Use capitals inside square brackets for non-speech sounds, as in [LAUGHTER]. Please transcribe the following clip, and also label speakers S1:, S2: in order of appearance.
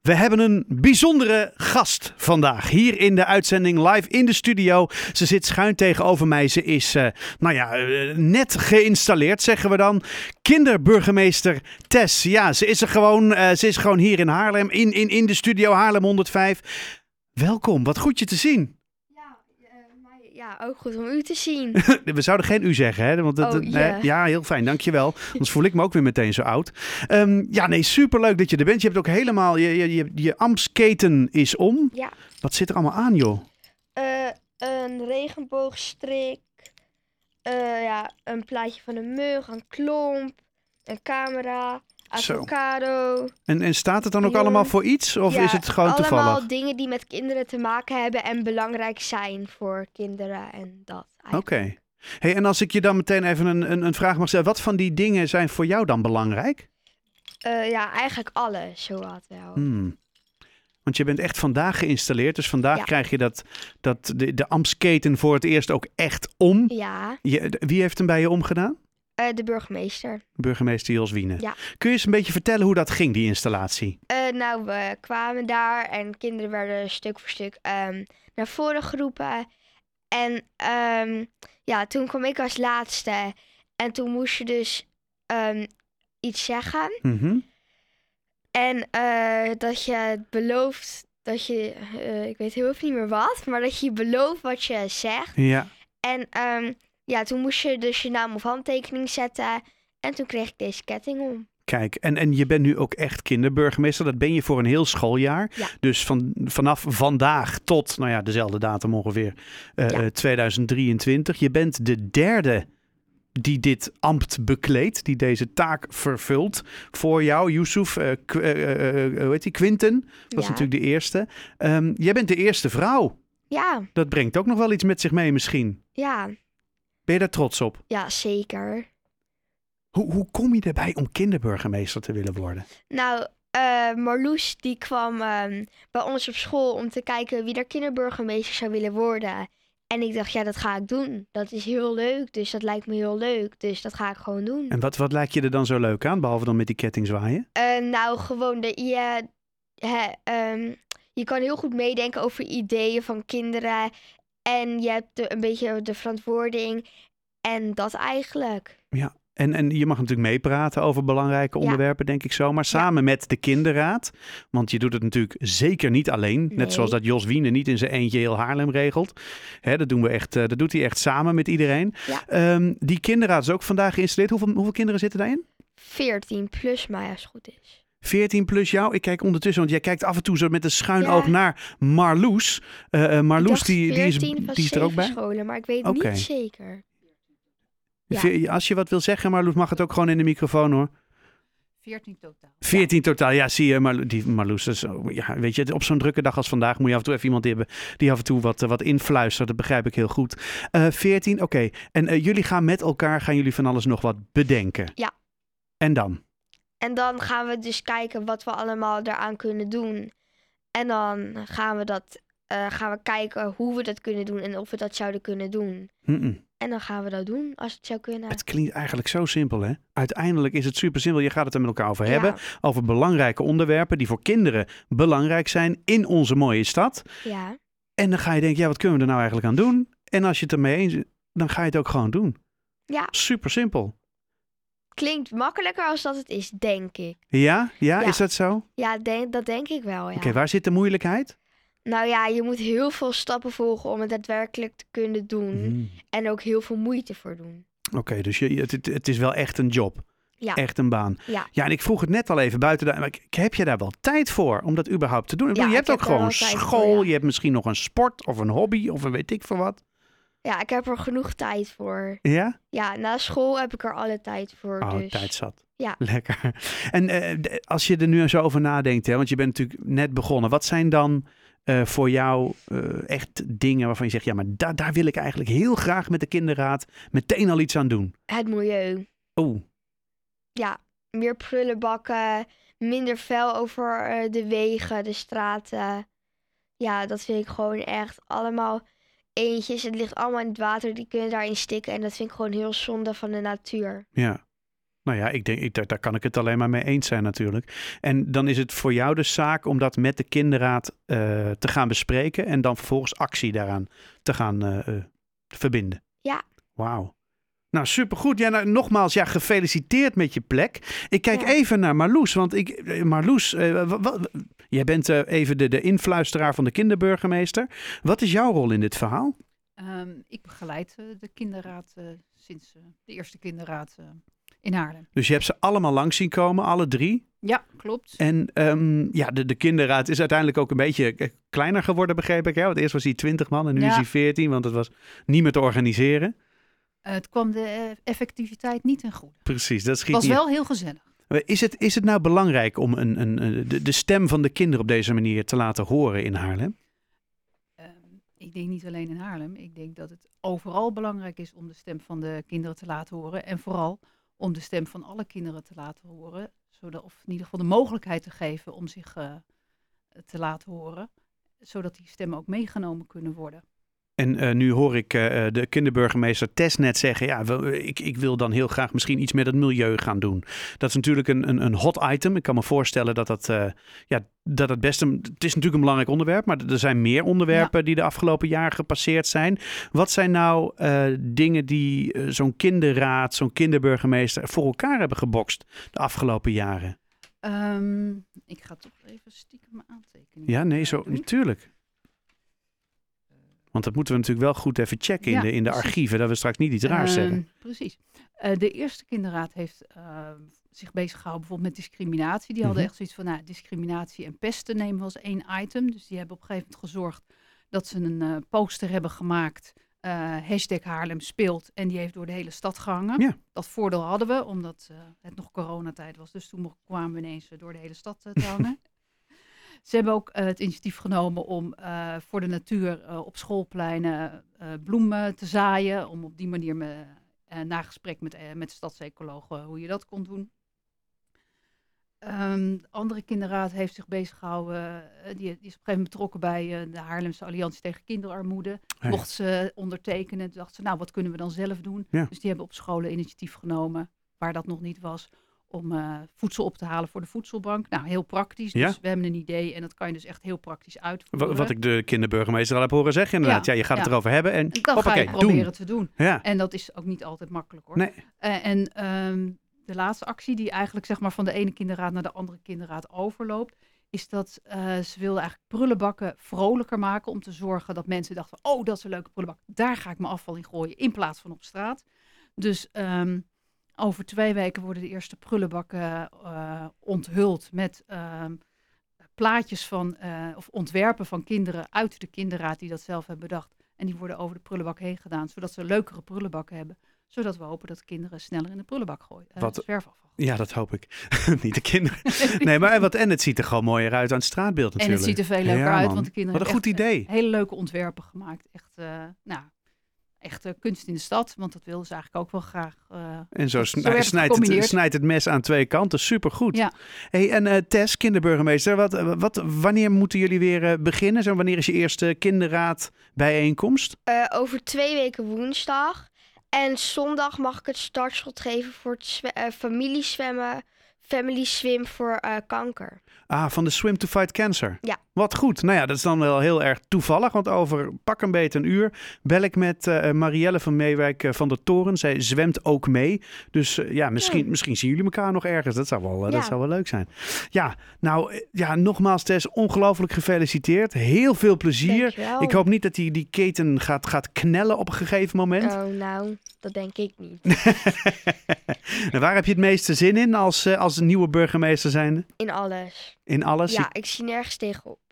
S1: We hebben een bijzondere gast vandaag hier in de uitzending live in de studio. Ze zit schuin tegenover mij. Ze is, eh, nou ja, eh, net geïnstalleerd, zeggen we dan. Kinderburgemeester Tess. Ja, ze is er gewoon. eh, ze is gewoon hier in Haarlem, in, in, in de studio Haarlem 105. Welkom, wat goed je te zien.
S2: Ja, eh, maar ja, ook goed om u te
S1: [LAUGHS]
S2: zien.
S1: We zouden geen u zeggen, hè? Want dat,
S2: Oh,
S1: dat-
S2: ja.
S1: nee, ja, heel fijn, dankjewel. Anders voel ik me ook weer meteen zo oud. Ehm, ja, nee, superleuk dat je er bent. Je hebt ook helemaal, je, je, je, je ambtsketen is om.
S2: Ja.
S1: Wat zit er allemaal aan, joh?
S2: Eh, een regenboogstrik, eh, ja, een plaatje van een mug, een klomp, een camera,
S1: Zo.
S2: avocado.
S1: En, en staat het dan ook
S2: Ja.
S1: allemaal voor iets? Of
S2: Ja,
S1: is het gewoon toevallig?
S2: Allemaal dingen die met kinderen te maken hebben en belangrijk zijn voor kinderen en dat.
S1: Oké.
S2: eigenlijk.
S1: Hey, en als ik je dan meteen even een, een, een vraag mag stellen. Wat van die dingen zijn voor jou dan belangrijk?
S2: Eh, ja, eigenlijk alles, zo wat wel.
S1: Hmm. Want je bent echt vandaag geïnstalleerd. Dus vandaag
S2: Ja.
S1: krijg je dat, dat de, de Amsketen voor het eerst ook echt om.
S2: Ja,
S1: Je, de- wie heeft hem bij je omgedaan?
S2: eh, de burgemeester.
S1: Burgemeester Jos Wiene.
S2: Ja.
S1: Kun je eens een beetje vertellen hoe dat ging, die installatie?
S2: Eh, nou, we kwamen daar en kinderen werden stuk voor stuk ehm, naar voren geroepen. En ehm, ja, toen kwam ik als laatste. En toen moest je dus ehm, iets zeggen.
S1: Mhm.
S2: En eh, dat je belooft dat je, eh, ik weet heel even niet meer wat, maar dat je belooft wat je zegt.
S1: Ja.
S2: En ehm, ja, toen moest je dus je naam of handtekening zetten. En toen kreeg ik deze ketting om.
S1: Kijk, en, en je bent nu ook echt kinderburgemeester. Dat ben je voor een heel schooljaar.
S2: Ja.
S1: Dus van, vanaf vandaag tot, nou ja, dezelfde datum ongeveer, eh,
S2: Ja.
S1: eh, 2023. Je bent de derde die dit ambt bekleedt, die deze taak vervult voor jou. Yusuf, eh Qu- eh, eh, eh, hoe heet die? Quinten was
S2: Ja.
S1: natuurlijk de eerste. Ehm, jij bent de eerste vrouw.
S2: Ja,
S1: Dat brengt ook nog wel iets met zich mee misschien.
S2: ja,
S1: Ben je daar trots op?
S2: ja, zeker.
S1: Hoe, hoe kom je erbij om kinderburgemeester te willen worden?
S2: Nou, eh, Marloes die kwam ehm, bij ons op school om te kijken wie daar kinderburgemeester zou willen worden. En ik dacht, ja, dat ga ik doen. Dat is heel leuk, dus dat lijkt me heel leuk. Dus dat ga ik gewoon doen.
S1: En wat, wat lijkt je er dan zo leuk aan, behalve dan met die ketting zwaaien?
S2: Eh, nou, gewoon, de, je, hè, ehm, je kan heel goed meedenken over ideeën van kinderen. En je hebt de- een beetje de verantwoording. En dat eigenlijk.
S1: En, en je mag natuurlijk meepraten over belangrijke
S2: Ja.
S1: onderwerpen, denk ik zo. Maar samen met de kinderraad. Want je doet het natuurlijk zeker niet alleen. Net
S2: Nee.
S1: zoals dat Jos Wiene niet in zijn eentje heel Haarlem regelt. Hè, dat, doen we echt, eh, dat doet hij echt samen met iedereen.
S2: Ja.
S1: Ehm, die kinderraad is ook vandaag geïnstalleerd. Hoeveel, hoeveel kinderen zitten daarin?
S2: 14 plus, maar ja, als het goed is.
S1: 14 plus jou. Ik kijk ondertussen, want jij kijkt af en toe zo met een schuin
S2: Ja.
S1: oog naar Marloes. Eh, eh,
S2: Ik
S1: Marloes,
S2: dacht
S1: die, die, is,
S2: 14 van
S1: die is er ook bij.
S2: zeven scholen, maar ik weet
S1: Oké.
S2: niet zeker. ja.
S1: Ve- Als je wat wil zeggen, Marloes, mag het ook gewoon in de microfoon hoor.
S3: 14 totaal.
S1: 14 totaal, ja, zie je. Maar, die, Marloes, dat is, oh, ja, weet je, op zo'n drukke dag als vandaag moet je af en toe even iemand hebben die af en toe wat, eh, wat influistert. Dat begrijp ik heel goed. Eh 14, oké. En eh, jullie gaan met elkaar, gaan jullie van alles nog wat bedenken?
S2: Ja.
S1: En dan?
S2: En dan gaan we dus kijken wat we allemaal daaraan kunnen doen. En dan gaan we, dat, eh, gaan we kijken hoe we dat kunnen doen en of we dat zouden kunnen doen.
S1: Mm-mm.
S2: En dan gaan we dat doen als het zou kunnen.
S1: Hm, Het klinkt eigenlijk zo simpel, hè? Uiteindelijk is het super simpel. Je gaat het er met elkaar over hebben.
S2: Ja,
S1: Over belangrijke onderwerpen die voor kinderen belangrijk zijn in onze mooie stad.
S2: ja,
S1: En dan ga je denken, ja, wat kunnen we er nou eigenlijk aan doen? En als je het ermee eens bent, dan ga je het ook gewoon doen.
S2: Ja.
S1: Super simpel.
S2: klinkt makkelijker als dat het is, denk ik.
S1: Ja? ja?
S2: Ja.
S1: Is dat zo?
S2: Ja, denk, dat denk ik wel, ja.
S1: Oké, waar zit de moeilijkheid?
S2: Nou ja, je moet heel veel stappen volgen om het daadwerkelijk te kunnen doen.
S1: Mhm.
S2: En ook heel veel moeite voor doen.
S1: Oké, dus je, het, het- het is wel echt een job.
S2: Ja.
S1: Echt een baan.
S2: Ja.
S1: en ik vroeg het net al even buiten. De, maar ik- heb je daar wel tijd voor om dat überhaupt te doen? Ik
S2: Ja,
S1: bedoel, je
S2: ik
S1: hebt ook
S2: heb daar
S1: gewoon
S2: wel tijd voor,
S1: school.
S2: ja.
S1: Je hebt misschien nog een sport of een hobby of een weet ik veel wat.
S2: Ja, ik heb er genoeg tijd voor.
S1: Ja?
S2: Ja, na school heb ik er alle tijd voor.
S1: Oh,
S2: dus.
S1: tijd zat.
S2: Ja.
S1: Lekker. En eh, d- als je er nu zo over nadenkt, hè, want je bent natuurlijk net begonnen. Wat zijn dan eh, voor jou eh, echt dingen waarvan je zegt... ja, maar da- daar wil ik eigenlijk heel graag met de kinderraad meteen al iets aan doen?
S2: Het milieu.
S1: Oeh,
S2: meer prullenbakken, minder vuil over eh, de wegen, de straten. Ja, dat vind ik gewoon echt allemaal eentjes. Het ligt allemaal in het water, die kunnen daarin stikken. En dat vind ik gewoon heel zonde van de natuur.
S1: ja. Nou ja, ik denk, ik, daar, daar kan ik het alleen maar mee eens zijn natuurlijk. En dan is het voor jou de zaak om dat met de kinderraad eh, te gaan bespreken en dan vervolgens actie daaraan te gaan eh, eh, verbinden.
S2: Ja.
S1: Wauw. Nou, supergoed. Ja, nou, nogmaals, ja, gefeliciteerd met je plek. Ik kijk
S2: Ja.
S1: even naar Marloes, want ik, eh, Marloes, eh, wa- wa- jij bent eh, even de, de influisteraar van de kinderburgemeester. Wat is jouw rol in dit verhaal?
S3: Ehm, ik begeleid eh, de kinderraad eh, sinds eh, de eerste kinderraad eh, in Haarlem.
S1: Dus je hebt ze allemaal langs zien komen, alle drie.
S3: Ja, klopt.
S1: En ehm, ja, de, de kinderraad is uiteindelijk ook een beetje eh, kleiner geworden, begreep ik. Hè? Want eerst was hij 20 man en nu
S3: Ja.
S1: is hij 14, want het was niet meer te organiseren.
S3: Eh, het kwam de eh, effectiviteit niet ten goede.
S1: Precies, dat schiet
S3: Het was
S1: niet.
S3: wel heel gezellig.
S1: Is het, is het nou belangrijk om een, een, een- de, de stem van de kinderen op deze manier te laten horen in Haarlem?
S3: Ehm, ik denk niet alleen in Haarlem. Ik denk dat het overal belangrijk is om de stem van de kinderen te laten horen. En vooral om de stem van alle kinderen te laten horen. Zodat, of in ieder geval de mogelijkheid te geven om zich eh, te laten horen. Zodat die stemmen ook meegenomen kunnen worden.
S1: En eh, nu hoor ik eh, eh, de kinderburgemeester Tess net zeggen, ja, wel, eh, ik, ik wil dan heel graag misschien iets met het milieu gaan doen. Dat is natuurlijk een, een, een hot item. Ik kan me voorstellen dat dat, eh, ja, dat het best een, het is natuurlijk een belangrijk onderwerp, maar er zijn meer onderwerpen die de afgelopen jaren gepasseerd zijn. Wat zijn nou eh, dingen die eh, zo'n kinderraad, zo'n kinderburgemeester voor elkaar hebben gebokst de afgelopen jaren?
S3: Ehm, ik ga toch even stiekem mijn aantekeningen eh,
S1: Ja, nee, zo,
S3: doen.
S1: natuurlijk. Want dat moeten we natuurlijk wel goed even checken in,
S3: Ja,
S1: de, in de
S3: precies.
S1: archieven, dat we straks niet iets raars
S3: Ehm,
S1: zeggen.
S3: Precies. Eh, de eerste kinderraad heeft eh, zich bezig gehouden bijvoorbeeld met discriminatie. Die hadden
S1: Mhm.
S3: echt zoiets van, nou, discriminatie en pesten nemen we als één item. Dus die hebben op een gegeven moment gezorgd dat ze een eh, poster hebben gemaakt. eh, hashtag Haarlem speelt. En die heeft door de hele stad gehangen.
S1: Ja.
S3: Dat voordeel hadden we, omdat eh, het nog coronatijd was. Dus toen mo- kwamen we ineens eh, door de hele stad eh, te
S1: [LAUGHS]
S3: hangen. Ze hebben ook eh, het initiatief genomen om eh, voor de natuur eh, op schoolpleinen eh, bloemen te zaaien. Om op die manier me, eh, na gesprek met, eh, met de stadsecologen hoe je dat kon doen. Ehm, de andere kinderraad heeft zich bezig gehouden. eh, die, die is op een gegeven moment betrokken bij eh, de Haarlemse Alliantie tegen Kinderarmoede.
S1: Ja.
S3: Mocht ze ondertekenen, dachten ze, nou wat kunnen we dan zelf doen?
S1: Ja.
S3: Dus die hebben op scholen initiatief genomen, waar dat nog niet was, om eh, voedsel op te halen voor de voedselbank. Nou, heel praktisch.
S1: Ja.
S3: Dus we hebben een idee en dat kan je dus echt heel praktisch
S1: Wa-
S3: uitvoeren.
S1: Wat ik de kinderburgemeester al heb horen zeggen, inderdaad. Ja,
S3: Ja,
S1: je gaat het
S3: ja.
S1: erover hebben en
S3: En dan ga
S1: hoppakee,
S3: je
S1: doen.
S3: proberen te doen.
S1: Ja,
S3: En dat is ook niet altijd makkelijk hoor.
S1: Nee.
S3: Eh, en ehm, de laatste actie die eigenlijk zeg maar, van de ene kinderraad naar de andere kinderraad overloopt, is dat eh, ze wilden eigenlijk prullenbakken vrolijker maken om te zorgen dat mensen dachten, oh dat is een leuke prullenbak, daar ga ik mijn afval in gooien in plaats van op straat. Dus ehm, over twee weken worden de eerste prullenbakken eh, onthuld met ehm, plaatjes van, eh, of ontwerpen van kinderen uit de kinderraad die dat zelf hebben bedacht. En die worden over de prullenbak heen gedaan, zodat ze leukere prullenbakken hebben. Zodat we hopen dat kinderen sneller in de prullenbak gooien. eh,
S1: Wat-
S3: zwerfafval.
S1: ja, dat hoop ik. Niet de kinderen. [LAUGHS] Nee,
S3: [LAUGHS]
S1: maar en wat, en het ziet er gewoon mooier uit aan het straatbeeld
S3: en
S1: natuurlijk.
S3: het ziet er veel
S1: Ja,
S3: leuker uit,
S1: man.
S3: want de kinderen
S1: Wat een
S3: hebben
S1: goed
S3: echt, eh,
S1: idee.
S3: hele leuke ontwerpen gemaakt. Echt, eh, nou, echt eh, kunst in de stad, want dat wilden ze eigenlijk ook wel graag. eh,
S1: En zo,
S3: Zo
S1: snij-
S3: werd het
S1: snijdt, het,
S3: gecombineerd.
S1: snijdt het mes aan twee kanten. Supergoed.
S3: Ja.
S1: Hey, en eh, Tess, kinderburgemeester, wat, wat, wanneer moeten jullie weer eh, beginnen? Zo, wanneer is je eerste kinderraad bijeenkomst?
S2: Eh, over twee weken woensdag. En zondag mag ik het startschot geven voor het zwe- eh, familiezwemmen. Family swim voor eh, kanker.
S1: Ah, van de Swim to Fight Cancer.
S2: Ja.
S1: Wat goed. Nou ja, dat is dan wel heel erg toevallig. Want over pak een beet een uur bel ik met eh, Marielle van Meewijk eh, van de Toren. Zij zwemt ook mee. Dus eh, ja, misschien,
S2: Ja.
S1: misschien zien jullie elkaar nog ergens. Dat zou wel, eh, dat
S2: Ja.
S1: zou wel leuk zijn. Ja, nou eh, ja, nogmaals Tess, ongelooflijk gefeliciteerd. Heel veel plezier.
S2: Dankjewel.
S1: Ik hoop niet dat die, die keten gaat, gaat knellen op een gegeven moment.
S2: Oh, nou, dat denk ik niet.
S1: En waar heb je het meeste zin in als, eh, als een nieuwe burgemeester zijnde?
S2: In alles.
S1: In alles?
S2: Ja, ik zie nergens tegenop.